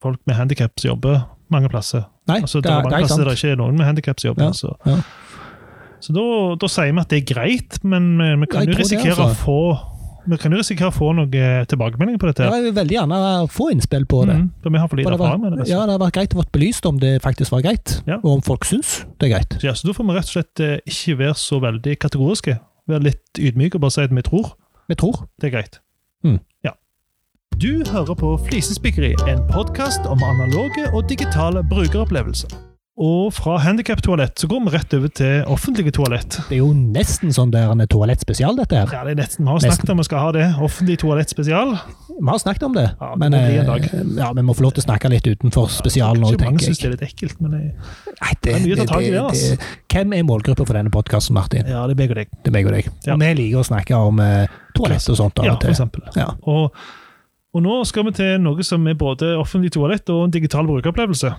S1: folk med handikap som jobber mange plasser.
S2: Nei,
S1: Altså, det,
S2: det,
S1: er
S2: er, det
S1: mange
S2: er
S1: plasser der
S2: sant.
S1: det ikke er noen med handikap som jobber.
S2: Ja,
S1: Så,
S2: ja.
S1: så da, da sier vi at det er greit, men vi, vi
S2: Ja,
S1: kan jo
S2: jeg tror det,
S1: risikere
S2: altså.
S1: å få vi kan jo risikere å få noe eh, tilbakemelding på dette.
S2: Ja, jeg vil veldig gjerne få innspill på det.
S1: Mhm, for vi har for
S2: For
S1: lite
S2: det var,
S1: erfaring med det. altså.
S2: ja, det har vært greit å få belyst om det faktisk var greit,
S1: Ja.
S2: og om folk syns det er greit.
S1: Så, ja, så da får vi rett og slett eh, ikke være så veldig kategoriske. Være litt ydmyke og bare si at vi tror.
S2: Vi tror.
S1: Det er greit.
S2: Mm.
S1: Ja. Du hører på Flisespikkeri, en podkast om analoge og digitale brukeropplevelser. Og fra handikaptoalett så går vi rett over til offentlige toalett.
S2: Det er jo nesten sånn der en toalettspesial, dette her.
S1: Ja, det er nesten, Vi har snakket om vi skal ha det. Offentlig toalett spesial.
S2: Vi har snakket om det,
S1: Ja, det
S2: men
S1: må bli en
S2: eh,
S1: dag.
S2: ja, vi må få lov til å snakke litt utenfor spesialen òg,
S1: Ikke mange
S2: tenker
S1: syns det
S2: jeg.
S1: er litt ekkelt, men eh, jeg,
S2: Nei, det,
S1: Det er mye å ta tak i,
S2: det-
S1: altså.
S2: det- Hvem er målgruppa for denne podkasten, Martin?
S1: ja, det er meg og deg.
S2: Det er meg og deg.
S1: Ja.
S2: Og vi liker å snakke om eh, toalett og sånt. av
S1: Ja,
S2: og til.
S1: for eksempel.
S2: ja.
S1: Og, og nå skal vi til noe som er både offentlig toalett og en digital brukeropplevelse.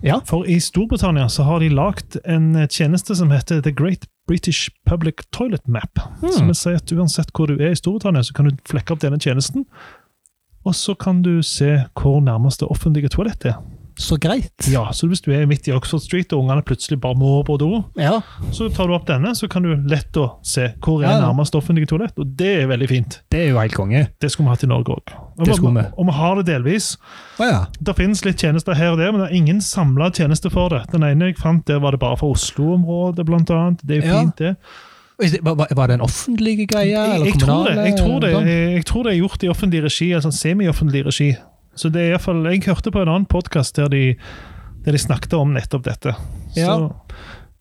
S2: Ja.
S1: For i Storbritannia så har de lagd en tjeneste som heter The Great British Public Toilet Map. Som
S2: Hmm.
S1: vil si at uansett hvor du er i Storbritannia, så kan du flekke opp denne tjenesten. Og så kan du se hvor nærmeste offentlige toalett er.
S2: Så greit.
S1: Ja, Så hvis du er midt i Oxford Street og ungene plutselig bare må på do,
S2: Ja.
S1: så tar du opp denne, så kan du lett å se hvor er
S2: Ja, ja.
S1: nærmeste offentlige toalett. Og det er veldig fint.
S2: Det er jo helt konge.
S1: Det skulle vi hatt i Norge òg.
S2: Det skulle vi.
S1: Og vi har det delvis.
S2: Å ja.
S1: Det finnes litt tjenester her og der, men det er ingen samla tjeneste for det. Den ene jeg fant, der var det bare for Oslo-området, blant annet. Det er jo
S2: Ja.
S1: fint, det.
S2: Is det- Var var det en offentlig greie?
S1: Jeg,
S2: eller
S1: jeg, tror det.
S2: kommunale,
S1: Jeg, tror det.
S2: eller noe sånt?
S1: Jeg, jeg tror det er gjort i offentlig regi, altså semi-offentlig regi. Så det er i hvert fall, Jeg hørte på en annen podkast der, de, der de snakket om nettopp dette. Så,
S2: Ja.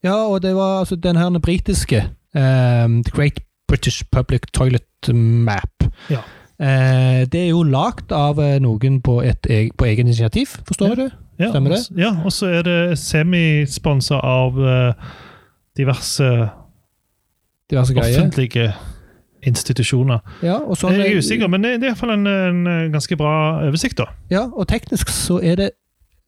S2: Ja, og det var altså den her den britiske ehm, The Great British Public Toilet Map.
S1: Ja.
S2: Eh, det er jo lagd av eh, noen på, et, e- på egen initiativ, forstår jeg det?
S1: ja,
S2: Stemmer det?
S1: og- Ja, og så er det semisponsa av eh, diverse
S2: Diverse greier.
S1: offentlige institusjoner.
S2: altså Ja, og sånn,
S1: Jeg er usikker, men det det er iallfall en, en ganske bra oversikt, da.
S2: Ja, og teknisk så er det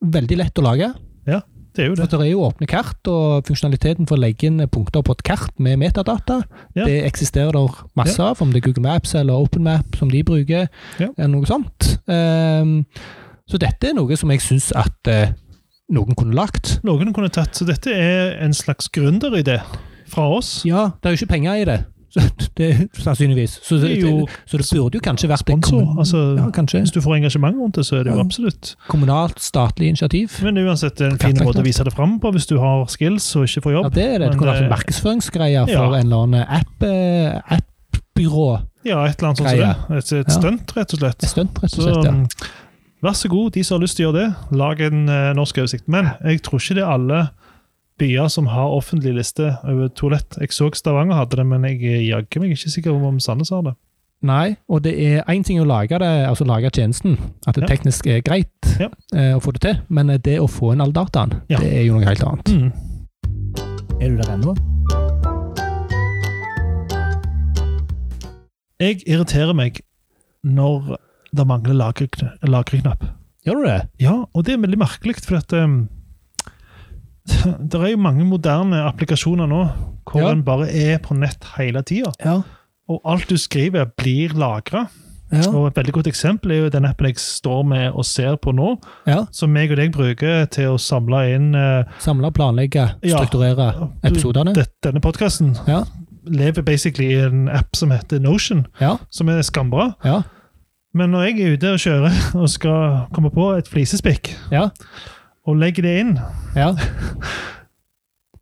S2: veldig lett å lage.
S1: Ja. Det er jo det.
S2: For det er jo åpne kart, og funksjonaliteten for å legge inn punkter på et kart med metadata,
S1: Ja.
S2: det eksisterer der masse av, om det er Google Maps eller OpenMap som de bruker,
S1: Ja.
S2: eller noe sånt. Ehm, så dette er noe som jeg syns at eh, noen kunne lagt.
S1: Noen kunne tatt, så dette er en slags gründeridé fra oss.
S2: Ja, det er jo ikke penger i det. Så det sannsynligvis. Så det,
S1: Det er jo
S2: så det burde jo kanskje vært en
S1: Sponsor,
S2: kommun-
S1: altså-
S2: ja, kanskje,
S1: Hvis du får engasjement rundt det, så er det jo
S2: Ja.
S1: absolutt.
S2: kommunalt, statlig initiativ.
S1: Men det er uansett en fin
S2: Perfekt,
S1: måte å
S2: altså.
S1: vise det fram på hvis du har skills og ikke får
S2: Ja,
S1: jobb.
S2: det er det.
S1: men
S2: Det kunne vært en
S1: det-
S2: markedsføringsgreie for
S1: Ja.
S2: en eller annen app, eh, appbyrå.
S1: Ja, et eller annet sånt som det. Et, et
S2: Ja.
S1: stunt, rett og slett.
S2: Et stunt, rett og
S1: Så
S2: slett. ja.
S1: mm, vær så god, de som har lyst til å gjøre det, lag en eh, norsk oversikt. Men jeg tror ikke det er alle byer som har offentlig liste over toalett. Jeg så Stavanger hadde det, men jeg er jaggu meg ikke sikker om Sandnes har det.
S2: Nei, og det er én ting å lage det, altså lage tjenesten, at det
S1: Ja.
S2: teknisk er greit
S1: Ja.
S2: eh, å få det til, men eh, det å få inn all dataen,
S1: Ja.
S2: det er jo noe helt annet.
S1: Mm.
S2: Er du der ennå?
S1: Jeg irriterer meg når det mangler lagrekn- lagreknapp.
S2: Gjør du det?
S1: Ja, og det er veldig merkelig, for at um, det er jo mange moderne applikasjoner nå hvor
S2: Ja.
S1: en bare er på nett hele tida.
S2: Ja.
S1: Og alt du skriver, blir lagra.
S2: Ja.
S1: Og Et veldig godt eksempel er jo den appen jeg står med og ser på nå,
S2: ja.
S1: som meg og deg bruker til å samle inn eh,
S2: Samle, planlegge,
S1: Ja.
S2: strukturere episodene.
S1: det- denne podkasten.
S2: Ja.
S1: Lever basically i en app som heter Notion,
S2: Ja.
S1: som er skambra.
S2: Ja.
S1: Men når jeg er ute og kjører og skal komme på et flisespikk,
S2: Ja.
S1: og legger det inn,
S2: ja.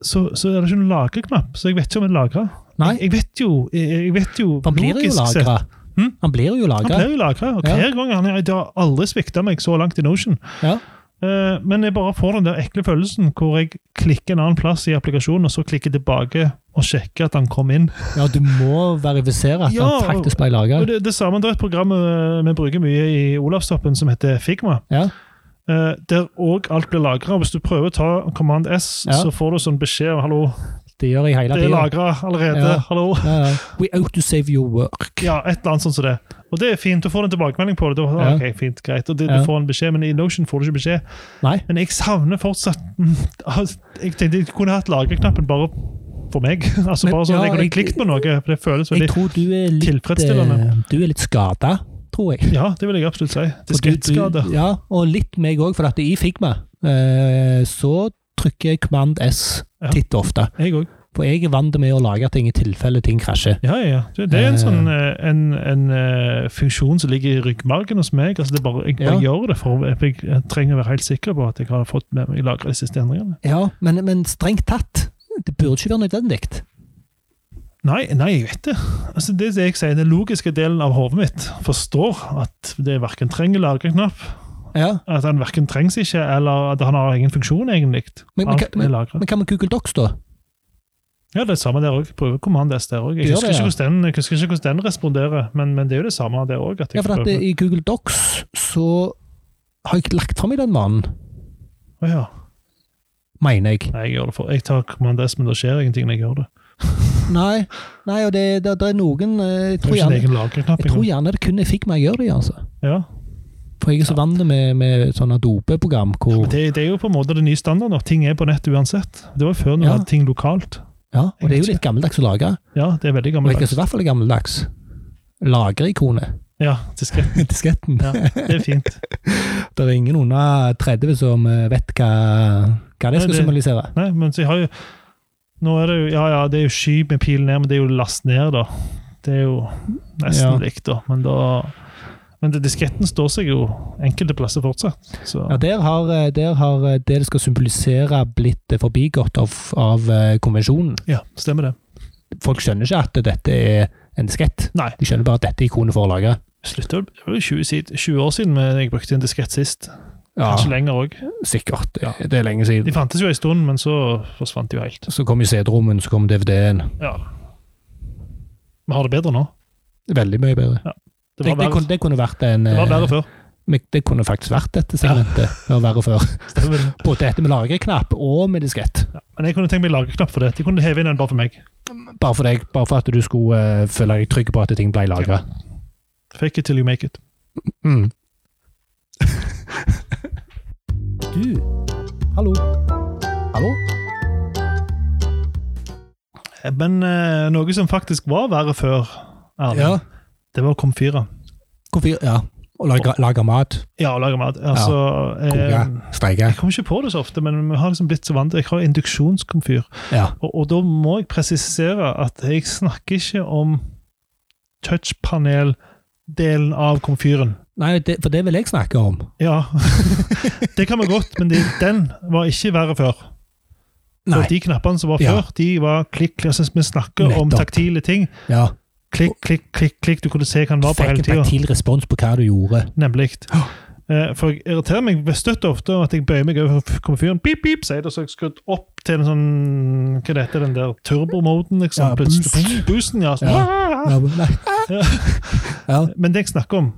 S1: så, så er det ikke noen lagreknapp. Så jeg vet ikke om jeg lagrer.
S2: Nei,
S1: Jeg, jeg vet jo, jeg, jeg vet jo
S2: han blir jo
S1: logisk sett-
S2: lagra.
S1: Hm?
S2: Han blir jo
S1: Han
S2: lagra.
S1: blir jo lagra. Og
S2: Ja.
S1: hver gang han er, Det har aldri svikta meg så langt i Notion.
S2: Ja.
S1: Eh, men jeg bare får den der ekle følelsen hvor jeg klikker en annen plass i applikasjonen, og så klikker tilbake og sjekker at han kom inn.
S2: ja, du må verifisere at
S1: Ja,
S2: han faktisk ble lagra.
S1: Og det, det samme det er et program eh, vi bruker mye i Olavstoppen, som heter Figma.
S2: Ja.
S1: eh, der òg alt blir lagra. Hvis du prøver å ta Command S,
S2: Ja.
S1: så får du sånn beskjed om 'hallo,
S2: Det gjør jeg hele
S1: det er
S2: tida.
S1: lagra allerede'.
S2: Ja.
S1: hallo.
S2: Ja, ja. We out to save your work.
S1: Ja, et eller annet sånt som det. Og det er fint, du får en tilbakemelding på det. Da,
S2: Ja.
S1: ok, fint, greit. Og det,
S2: Ja.
S1: du får en beskjed, men i Notion får du ikke beskjed.
S2: Nei.
S1: Men jeg savner fortsatt mm, altså, Jeg tenkte jeg kunne hatt lagreknappen bare for meg. altså
S2: Men-
S1: Bare sånn at
S2: ja,
S1: jeg kunne
S2: jeg-
S1: klikket på noe, for det føles
S2: Jeg
S1: veldig
S2: tror du er litt, eh,
S1: tilfredsstillende.
S2: du er litt skada, tror jeg.
S1: Ja, det vil jeg absolutt si.
S2: For du-
S1: Diskettskader.
S2: du- Ja, og litt meg òg, for at i Figma eh, så trykker jeg Command S
S1: Ja.
S2: titt og ofte.
S1: Jeg òg.
S2: For jeg er vant med å lage ting i tilfelle ting krasjer.
S1: Ja, ja. ja. Det, det er en
S2: Eh.
S1: sånn eh, en, en eh, funksjon som ligger i ryggmargen hos meg. altså det er bare, Jeg bare gjør det, for jeg, jeg trenger å være helt sikker på at jeg har fått med meg lagra de siste endringene.
S2: Ja, men, men strengt tatt, det burde ikke være nødvendig.
S1: Nei, nei, jeg vet det. Altså, det som jeg sier, Den logiske delen av hodet mitt forstår at det verken trenger lagreknapp,
S2: Ja,
S1: at han verken trengs ikke, eller at han har ingen funksjon, egentlig.
S2: Men- men
S1: Alt
S2: hva-
S1: er lagret.
S2: Men hva med Google Docs, da?
S1: Ja, det er det samme der òg. Prøver Command S der òg.
S2: Du
S1: Jeg,
S2: gjør
S1: husker
S2: det,
S1: ikke
S2: ja.
S1: hvordan den- jeg husker ikke hvordan den responderer, men, men det er jo det samme der òg.
S2: Ja, for at det, I Google Docs så har jeg lagt fram i den mannen,
S1: ja.
S2: mener jeg.
S1: Nei, jeg gjør det for Jeg tar Command S, men det skjer ingenting når jeg gjør det.
S2: Nei, nei og det, det, det er noen eh, Jeg
S1: Det er
S2: tror
S1: jo ikke en
S2: gjerne,
S1: egen lagreknapp.
S2: jeg tror
S1: engang.
S2: gjerne det kun er Figma jeg gjør det i, altså.
S1: Ja.
S2: For jeg er så vant med, med sånne dopeprogram hvor
S1: Men Det, det er jo på en måte det nye standarden. at Ting er på nett uansett. Det var jo før når du
S2: Ja.
S1: hadde ting lokalt.
S2: Ja, og det er jo litt gammeldags å lage.
S1: Ja, det er veldig
S2: Og vet du hva
S1: gammelt.
S2: som i hvert fall er gammeldags? Lagerikonet.
S1: Ja, diskret.
S2: Disketten.
S1: Ja, det er fint.
S2: Det er ingen under 30 som eh, vet hva, hva det
S1: Nei,
S2: skal
S1: det-
S2: symbolisere.
S1: Nei, men så jeg har jo Nå er det jo Ja, ja, det er jo sky med pil ned, men det er jo last ned, da. Det er jo nesten
S2: Ja.
S1: likt, da. Men da Men det, disketten står seg jo enkelte plasser fortsatt. Så
S2: Ja, der har, eh, der har eh, det det skal symbolisere, blitt eh, forbigått av, av eh, konvensjonen.
S1: ja, stemmer det.
S2: Folk skjønner ikke at dette er en diskett.
S1: Nei.
S2: De skjønner bare at dette er ikonet for å lage.
S1: Slutta Det var jo 20, sid- 20 år siden men jeg brukte en diskett sist.
S2: Ja,
S1: Kanskje lenger òg.
S2: sikkert. Det,
S1: Ja.
S2: det er lenge
S1: De
S2: siden.
S1: fantes jo en stund, men så forsvant de jo helt.
S2: Så kom jo CD-rommen, så kom DVD-en.
S1: Ja. Vi har det bedre nå.
S2: Veldig mye bedre.
S1: Det
S2: Det,
S1: var
S2: det,
S1: verre,
S2: kunne, det kunne vært en
S1: det var
S2: eh,
S1: verre før.
S2: Men det kunne faktisk vært dette segmentet. Ja. verre før.
S1: Stemmer det.
S2: Både dette med lagreknapp og med diskett.
S1: Men jeg kunne tenkt meg lagreknapp for det. De kunne heve inn en bare for meg.
S2: Bare for deg, bare for at du skulle eh, føle deg trygg på at ting ble lagra.
S1: Fake it till you make it.
S2: Mm. du, hallo. Hallo?
S1: Men eh, noe som faktisk var verre før, Erling,
S2: Ja.
S1: det var komfyrer.
S2: Komfyr, ja. Og lage, lage mat.
S1: Ja, å lage mat. Altså,
S2: Koke.
S1: eh,
S2: Steike.
S1: jeg kommer ikke på det så ofte, men vi har liksom blitt så vant til Jeg har induksjonskomfyr.
S2: Ja.
S1: Og, og da må jeg presisere at jeg snakker ikke om touchpanel-delen av komfyren.
S2: Nei, det, for det vil jeg snakke om.
S1: Ja, det kan vi godt, men det, den var ikke verre før. For
S2: Nei.
S1: De knappene som var
S2: Ja.
S1: før, de var klikk, klikk. Altså, vi snakker om
S2: Nettopp.
S1: taktile ting.
S2: Ja.
S1: Klikk, klikk, klikk, klikk. Du kunne se hva den
S2: Du
S1: var på
S2: fikk
S1: hele
S2: en
S1: tida.
S2: taktil respons på hva du gjorde.
S1: Nemlig.
S2: Ja.
S1: Eh, For jeg irriterer meg støtt ofte over at jeg bøyer meg over komfyren, pip, pip, sier det, og så har jeg skrudd opp til en sånn Hva det heter den der turbomoden, liksom?
S2: Ja,
S1: Plutselig-
S2: boost.
S1: Boosten, ja. Sånn.
S2: Ja, men- nei.
S1: Ja.
S2: Ja.
S1: Men det jeg snakker om,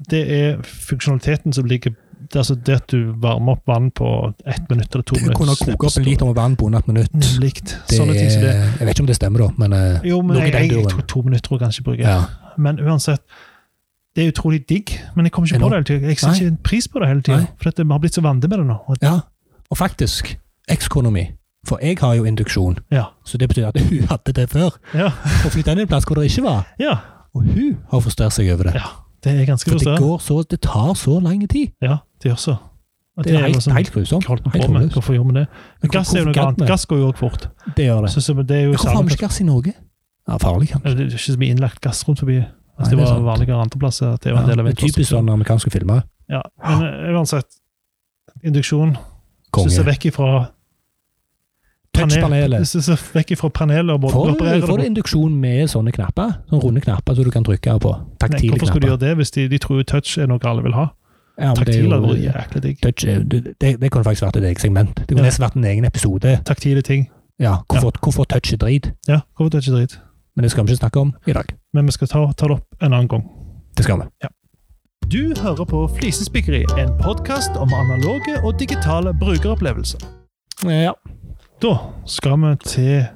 S1: det er funksjonaliteten som ligger det er altså det at du varmer opp vann på ett minutt eller to
S2: Du
S1: minutter.
S2: kunne koke opp en liter med vann på under et minutt.
S1: Nemlig. Sånne ting som det.
S2: er- Jeg vet ikke om det stemmer, da, men eh,
S1: Jo, men
S2: Noe
S1: jeg,
S2: i den
S1: jeg,
S2: duren.
S1: tror to minutter tror jeg kanskje jeg bruker.
S2: ja.
S1: Men uansett, det er utrolig digg. Men jeg kommer ikke
S2: Jeg
S1: på
S2: nå-
S1: det hele tiden. Jeg ser
S2: Nei.
S1: ikke en pris på det hele tiden.
S2: Nei.
S1: For at vi har blitt så vant med det nå. Og,
S2: ja. Og faktisk, ekskona mi, for jeg har jo induksjon,
S1: ja.
S2: så det betyr at hun hadde det før,
S1: Ja.
S2: og flytta inn i en plass hvor det ikke var.
S1: ja.
S2: Og hun har frustrert seg over det.
S1: Ja. Det er ganske
S2: For det,
S1: frustrerende.
S2: går så, det tar så lang tid.
S1: Ja, det gjør så. Og
S2: Det er
S1: jo
S2: helt,
S1: sånn,
S2: helt grusomt.
S1: hva holdt vi
S2: Helt
S1: på med?
S2: håpløst.
S1: Hvorfor gjorde vi det? Men
S2: Men
S1: gass er jo
S2: hvorfor
S1: noe
S2: gadd
S1: annet.
S2: vi?
S1: Gass går jo også fort.
S2: Det gjør det.
S1: Så, så det er jo
S2: Hvorfor har vi ikke gass i Norge? Ja, farlig, kanskje.
S1: Eller, Altså, Det er ikke så mye innlagt gass rundt forbi.
S2: Nei,
S1: Altså, det
S2: det er
S1: var
S2: sant.
S1: vanligere andre plasser. at Det var
S2: Ja,
S1: en del av
S2: det er typisk
S1: infrastrukturen.
S2: sånn amerikanske filmer.
S1: Ja, men eh, uansett. Induksjon. Hvis du ser
S2: Konge.
S1: vekk ifra panel,
S2: Touchpanelet.
S1: hvis du ser vekk ifra panelet og måten du
S2: Får
S1: opererer
S2: du,
S1: det
S2: får
S1: på.
S2: du induksjon med sånne knapper? Sånne runde knapper som du kan trykke på?
S1: Nei,
S2: Taktile
S1: Hvorfor skulle de
S2: knapper?
S1: gjøre det hvis de, de tror jo touch er noe alle vil ha?
S2: Ja, men det er
S1: Taktile hadde vært
S2: jo-
S1: jæklig digg.
S2: touch er- Det det- det kunne faktisk vært et eget segment. Det kunne
S1: Ja.
S2: nesten vært en egen episode.
S1: Taktile ting.
S2: Ja, hvorfor, hvorfor touch er drit?
S1: Ja, hvorfor touch er drit?
S2: Men det skal vi ikke snakke om i dag.
S1: Men vi skal ta, ta det opp en annen gang.
S2: Det skal vi.
S1: Du hører på Flisespikkeri, en podkast om analoge og digitale brukeropplevelser.
S2: Ja.
S1: Da skal vi til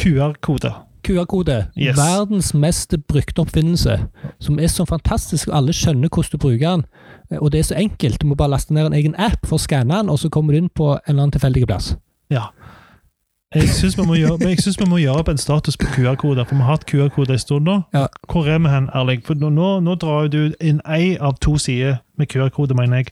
S1: QR-koder.
S2: QR-kode.
S1: Yes.
S2: Verdens mest brukte oppfinnelse. Som er så fantastisk, og alle skjønner hvordan du bruker den. Eh, Og det er så enkelt. Du må bare laste ned en egen app for å skanne den, og så kommer du inn på en eller annen tilfeldig plass.
S1: Ja. Jeg syns vi, må gjøre- men jeg synes vi må gjøre opp en status på QR-koder, for vi har hatt QR-koder en stund nå.
S2: Ja.
S1: Hvor er vi hen, Erling? For nå, nå, nå drar jo du inn ei av to sider med QR-kode, mener jeg.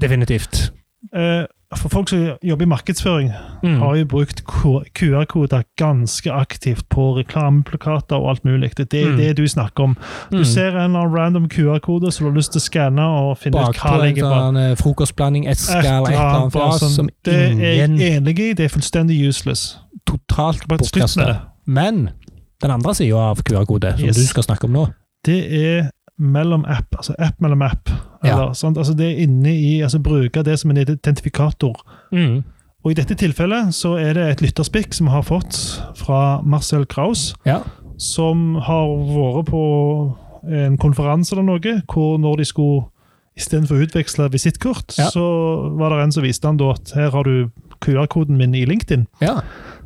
S2: Definitivt.
S1: Eh, For folk som jobber i markedsføring,
S2: Mm.
S1: har jo brukt Q- QR-koder ganske aktivt på reklameplakater og alt mulig. Det er
S2: Mm.
S1: det du snakker om. Du ser en eller annen random QR-kode som du har lyst til å skanne og finne ut
S2: Bakpå
S1: hva
S2: en
S1: ligger bak.
S2: sånn eh, frokostblanding, eske
S1: Et
S2: eller et eller annet
S1: bare
S2: fjas
S1: sånn,
S2: som
S1: det er
S2: ingen
S1: jeg enig i. Det er fullstendig useless.
S2: totalt
S1: Bare slutt med
S2: bortkastet.
S1: det.
S2: Men den andre sida av QR-kode, som
S1: Yes.
S2: du skal snakke om nå
S1: det er mellom app, altså app mellom app. Eller, sant? Altså det er inne i, altså Bruke det som en identifikator. Og I dette tilfellet så er det et lytterspikk som vi har fått fra Marcel Kraus,
S2: Ja.
S1: som har vært på en konferanse eller noe, hvor når de skulle istedenfor å utveksle visittkort,
S2: Ja.
S1: så var det en som viste han da at her har du QR-koden min i LinkedIn.
S2: ja.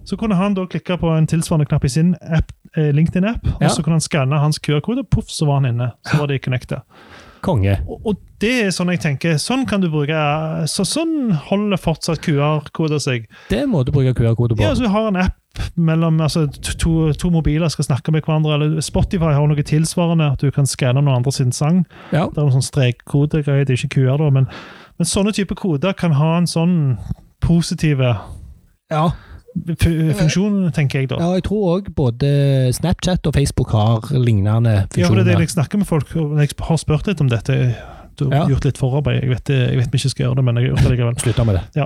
S1: Så kunne han da klikke på en tilsvarende knapp i sin app, eh, LinkedIn-app,
S2: Ja.
S1: og så kunne han skanne hans QR-kode, poff, så var han inne. Så var de connecta.
S2: Konge.
S1: Og, og det er sånn jeg tenker, sånn kan du bruke så, Sånn holder fortsatt QR-koder seg.
S2: Det må du bruke QR-kode på.
S1: Ja, altså, Du har en app mellom altså, to, to- to mobiler skal snakke med hverandre, eller Spotify har noe tilsvarende, at du kan skanne noen andre sin sang.
S2: Ja.
S1: Det er noen sånn strekkode, greier, det er ikke QR, da, men, men sånne typer koder kan ha en sånn positive
S2: Ja.
S1: fu- funksjon, tenker jeg da.
S2: jeg tror òg både Snapchat og Facebook har lignende
S1: Ja, for det er det
S2: funksjoner.
S1: jeg snakker med folk og når jeg har spurt litt om dette. Du har
S2: Ja.
S1: gjort litt forarbeid. Jeg vet, det- jeg vet vi ikke skal gjøre det, men jeg har gjort det likevel.
S2: Slutta med det.
S1: Eh,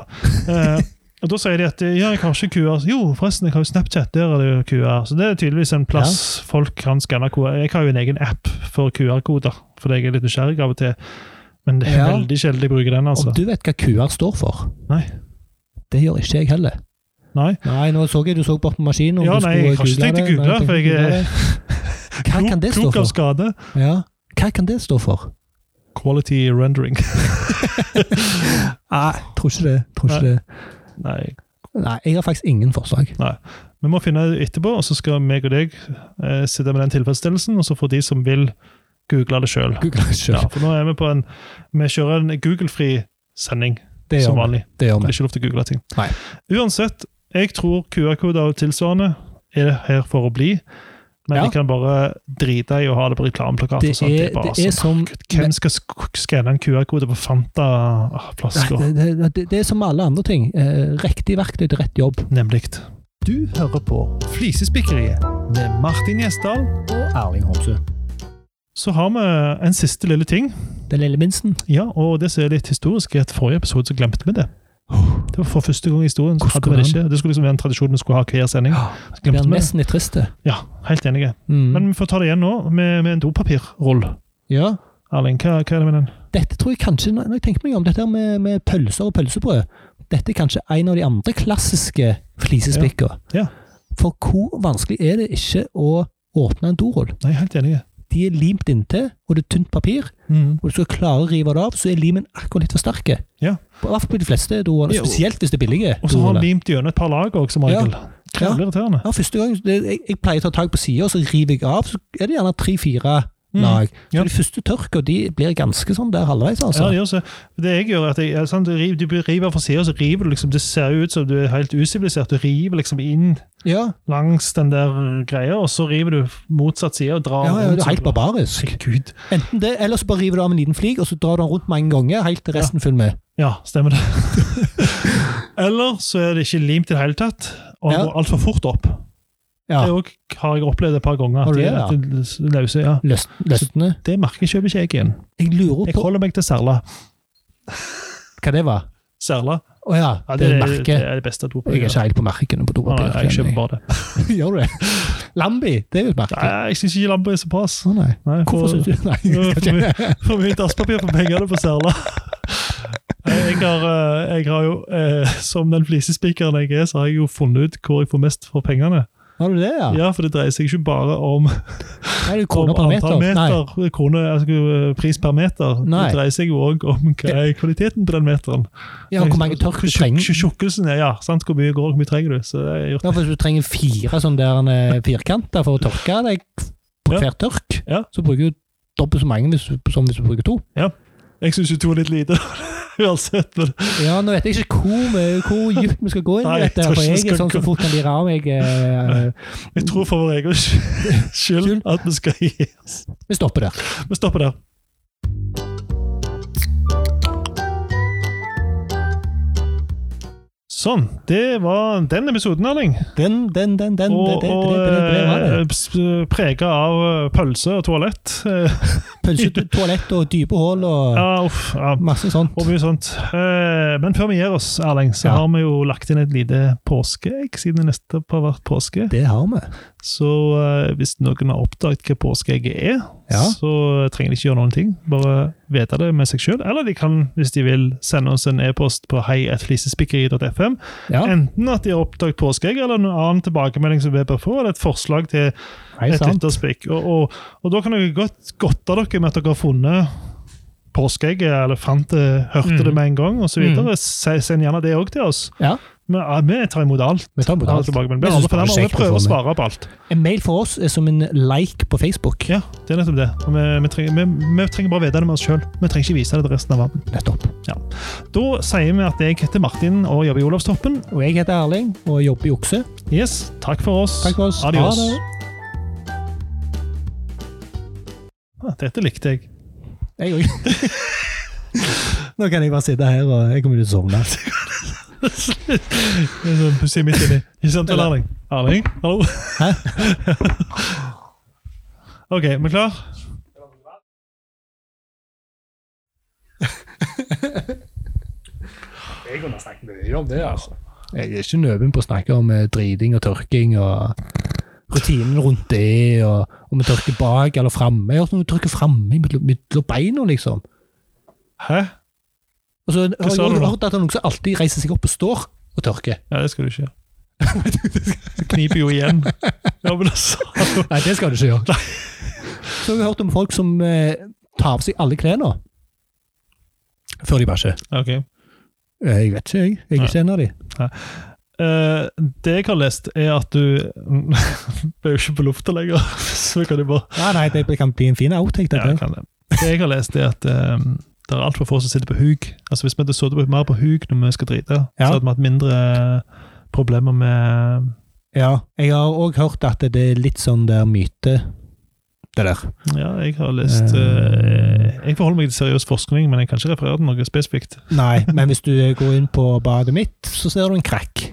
S1: og Da sier de at ja, jeg har ikke QR. Så, Jo, forresten, jeg har jo Snapchat. Der er det jo QR. Så det er tydeligvis en plass folk kan skanne QR. Jeg har jo en egen app for QR-koder, fordi jeg er litt nysgjerrig av og til. Men det er
S2: Ja.
S1: veldig sjelden jeg bruker den, altså.
S2: Og du vet hva QR står for?
S1: Nei.
S2: Det gjør ikke jeg heller.
S1: Nei.
S2: Nei, nå så jeg du så bort på maskinen. om
S1: Ja,
S2: du
S1: nei,
S2: skulle
S1: jeg har ikke tenkt å
S2: det. Nei,
S1: google,
S2: tenkte
S1: for jeg
S2: google
S1: er-
S2: det. Hva kan det stå
S1: Klok av
S2: for?
S1: skade.
S2: Ja. Hva kan det stå for?
S1: Quality rendering.
S2: Nei, tror ikke det. Tror ikke det.
S1: Nei,
S2: Nei, jeg har faktisk ingen forslag.
S1: Vi må finne det etterpå, og så skal meg og deg eh, sitte med den tilfredsstillelsen, og så får de som vil, google det sjøl.
S2: Google det selv.
S1: Ja, for nå er vi på en Vi kjører en Google-fri sending.
S2: det
S1: som
S2: gjør vi.
S1: vanlig.
S2: Det
S1: Det
S2: gjør
S1: er
S2: vi.
S1: ikke lov til å google ting.
S2: Nei.
S1: Uansett, jeg tror QR-koder og tilsvarende er her for å bli. Men
S2: Ja.
S1: vi kan bare drite i å ha det på reklameplakater.
S2: Det
S1: og sånt.
S2: er,
S1: bare
S2: det er
S1: sånn,
S2: som
S1: Hvem skal sk- skanne en QR-kode på ah, Fanta-flasker?
S2: Nei, det, det, det, det er som alle andre ting. Eh, riktig verktøy til rett jobb.
S1: Nemlig. Du hører på Flisespikkeriet med Martin Gjesdal.
S2: Og Erling Homsø.
S1: Så har vi en siste lille ting.
S2: Den lille minsten.
S1: Ja, og det som er litt historisk, er at forrige episode så glemte vi det. Det var for første gang i historien. så
S2: Hvordan
S1: hadde vi Det
S2: går det
S1: ikke. Det skulle liksom være en tradisjon vi skulle ha hver sending. Så
S2: Det
S1: Glemte
S2: er
S1: vi det.
S2: nesten litt trist, det.
S1: Ja, helt enige.
S2: Mm.
S1: Men vi får ta det igjen nå med, med en dopapirrull.
S2: ja.
S1: Erling, hva, hva er det med den?
S2: Dette tror jeg kanskje, når jeg tenker meg om, dette her med, med pølser og pølsebrød Dette er kanskje en av de andre klassiske flisespikker.
S1: Ja. Ja.
S2: For hvor vanskelig er det ikke å åpne en dorull?
S1: Nei, helt enige.
S2: De er limt inntil, og det er tynt papir.
S1: Mm.
S2: Og du skal klare å rive det av, så er limen akkurat litt for sterke.
S1: Ja.
S2: På, I hvert fall på de fleste doruller,
S1: Ja, og-
S2: spesielt hvis det er billige.
S1: Og så har han
S2: doruller.
S1: limt gjennom et par lag òg, som regel. Krevelig irriterende.
S2: ja, første gang, det, jeg, jeg pleier å ta tak på sida, så river jeg av. Så er det gjerne tre-fire
S1: Mm.
S2: lag. Så
S1: Ja.
S2: de første tørker, og de blir ganske sånn der halvveis,
S1: Ja,
S2: altså.
S1: det gjør så. Det jeg gjør, er at jeg, er sant, du river- du river fra sida, så river du liksom Det ser jo ut som du er helt usivilisert. Du river liksom inn
S2: ja,
S1: langs den der greia, og så river du motsatt side og drar
S2: ja, ja,
S1: rundt
S2: det er
S1: som-
S2: helt barbarisk.
S1: Herregud.
S2: Enten det, eller så bare river du av en liten flik, og så drar du den rundt mange ganger, helt til resten full med.
S1: Ja, stemmer det. Eller så er det ikke limt i det hele tatt, og
S2: Ja.
S1: går altfor fort opp.
S2: Ja.
S1: Det òg har jeg opplevd et par ganger.
S2: Har
S1: At
S2: du
S1: de,
S2: det, ja?
S1: at de løse, ja.
S2: Løst, løstene.
S1: Det merket kjøper ikke jeg igjen.
S2: Jeg lurer
S1: Jeg
S2: på
S1: holder meg til Serla.
S2: hva det var.
S1: Serla
S2: Å ja,
S1: ja,
S2: det er
S1: er-
S2: merket.
S1: det er det beste
S2: Jeg er
S1: dopapiret.
S2: ikke helt på merkene på
S1: Nei,
S2: dopapir.
S1: nei, jeg kjøper bare det.
S2: Gjør du det? Lambi, det er jo et merke.
S1: Nei, jeg syns ikke Lambo er såpass.
S2: Å nei.
S1: Nei, for,
S2: Hvorfor syns du Nei, jeg skal
S1: Ja,
S2: ikke.
S1: for mye dasspapir for pengene på Serla. Jeg har, eh, jeg har jo, eh, som den flisespikeren jeg er, så har jeg jo funnet ut hvor jeg får mest for pengene.
S2: Har du det, ja?
S1: Ja, for det dreier seg ikke bare om
S2: Nei,
S1: om
S2: det er kroner per meter.
S1: antall
S2: Nei.
S1: meter, krone, altså, pris per meter.
S2: Nei.
S1: Det dreier seg jo òg om hva er kvaliteten på den meteren.
S2: Ja, hvor mange tørk du
S1: Hvor tjukk-
S2: trenger.
S1: hvor Tjukkelsen er, ja. sant? Hvor mye går det, hvor mye trenger du? Så jeg har gjort
S2: Ja, for hvis du trenger fire sånne der eh, firkanter for å tørke deg på
S1: Ja.
S2: hver tørk,
S1: Ja.
S2: så bruker du dobbelt så mange hvis, du- som hvis du bruker to.
S1: Jeg syns jo to er litt lite, uansett. Men
S2: Ja, nå vet jeg ikke hvor, mye- hvor dypt vi skal gå inn
S1: Nei,
S2: i dette,
S1: jeg tror
S2: her, for
S1: ikke vi
S2: jeg
S1: skal
S2: er sånn som
S1: gå-
S2: fort kan lire av meg. eh,
S1: jeg tror for vår egen skyld
S2: Skyld.
S1: at vi skal gi oss.
S2: Vi stopper der.
S1: Vi stopper der. Sånn. Det var den episoden, Erling.
S2: Den, den, den, den,
S1: Og,
S2: det, det,
S1: og eh,
S2: det, det, det, det, var det.
S1: prega av eh, pølse og toalett. Eh,
S2: Pølsete toalett og dype hull og
S1: Ja, uff, ja.
S2: masse sånt.
S1: Og mye sånt. Eh, Men før vi gir oss, Erling, så
S2: Ja.
S1: har vi jo lagt inn et lite påskeegg, siden det nettopp har vært påske.
S2: Det har vi.
S1: Så eh, hvis noen har oppdaget hva påskeegget er,
S2: Ja.
S1: så trenger de ikke gjøre noen ting. Bare vite det med seg sjøl. Eller de kan, hvis de vil, sende oss en e-post på heietflisespikkeri.fm.
S2: Ja,
S1: Enten at de har oppdaget påskeegg, eller en annen tilbakemelding som vi bør få, eller et forslag til
S2: Nei,
S1: et
S2: sant.
S1: lytterspikk. Og, og, og da kan dere godt godte dere med at dere har funnet påskeegget, eller fant det, hørte
S2: Mm.
S1: det med en gang, osv.
S2: Mm.
S1: Mm. Send gjerne det òg til oss.
S2: Ja.
S1: Vi, ja, vi tar imot alt.
S2: Vi tar imot
S1: Alle
S2: alt.
S1: tilbakemeldinger.
S2: Jeg
S1: Vi,
S2: synes
S1: alle
S2: bare
S1: fornærmer, og
S2: kjekt
S1: vi
S2: å
S1: prøver
S2: få
S1: å
S2: med.
S1: svare på alt.
S2: En mail for oss er som en like på Facebook.
S1: Ja, det er nettopp det. Og Vi, vi, trenger, vi, vi trenger bare vite det med oss sjøl. Vi trenger ikke vise det til resten av verden.
S2: Nettopp.
S1: Da sier vi at jeg heter Martin og jobber i Olavstoppen.
S2: Og jeg heter Erling og jobber i Okse.
S1: Yes, takk for oss.
S2: Takk for oss.
S1: Adios.
S2: Ha det.
S1: Ah, Dette likte jeg.
S2: Jeg òg. Nå kan jeg bare sitte her, og jeg kommer til å sovne.
S1: Det er sånn pussig midt inni. Ikke sant, vel, Erling? Erling, hallo?
S2: Hæ?
S1: OK, er vi klar?
S2: Jeg kunne snakket mye om det, altså. Jeg er ikke nøven på å snakke om eh, driting og tørking og rutinen rundt det, og om vi tørker bak eller framme. Jeg har hørt om vi tørker framme mellom mellom beina, liksom.
S1: Hæ?
S2: Og så har
S1: sa du
S2: jeg
S1: nå?
S2: hørt at det er noen som alltid reiser seg opp og står og tørker.
S1: Ja, det skal du ikke gjøre. Du kniper jo igjen. Ja, men altså.
S2: Nei, det skal du ikke gjøre. Så har vi hørt om folk som eh, tar av seg alle klærne før de bæsjer.
S1: OK.
S2: Eh, Jeg vet ikke, jeg. Jeg er ikke en av de.
S1: Eh, det jeg har lest, er at du Det er jo ikke på lufta lenger, så vi kan jo bare
S2: Nei, nei, det kan bli en fin outtake,
S1: Ja,
S2: dette.
S1: jeg kan det. Det jeg har lest, er at eh, Det er altfor få som sitter på huk. Altså Hvis vi hadde sittet mer på huk når vi skal drite,
S2: Ja.
S1: så hadde vi hatt mindre problemer med
S2: Ja, jeg har òg hørt at det er litt sånn der myte, det der.
S1: Ja, jeg har lest eh, Jeg forholder meg til seriøs forskning, men jeg kan ikke referere til noe spesifikt.
S2: Nei, men hvis du går inn på badet mitt, så ser du en krakk.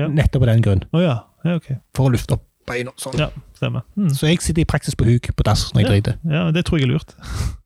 S1: Ja.
S2: Nettopp av den grunn.
S1: Å ja. ja, ok.
S2: For å lufte opp beina. Sånn.
S1: Ja, stemmer. Mm.
S2: Så jeg sitter i praksis på huk på dass når jeg driter.
S1: Ja, Det tror jeg er lurt.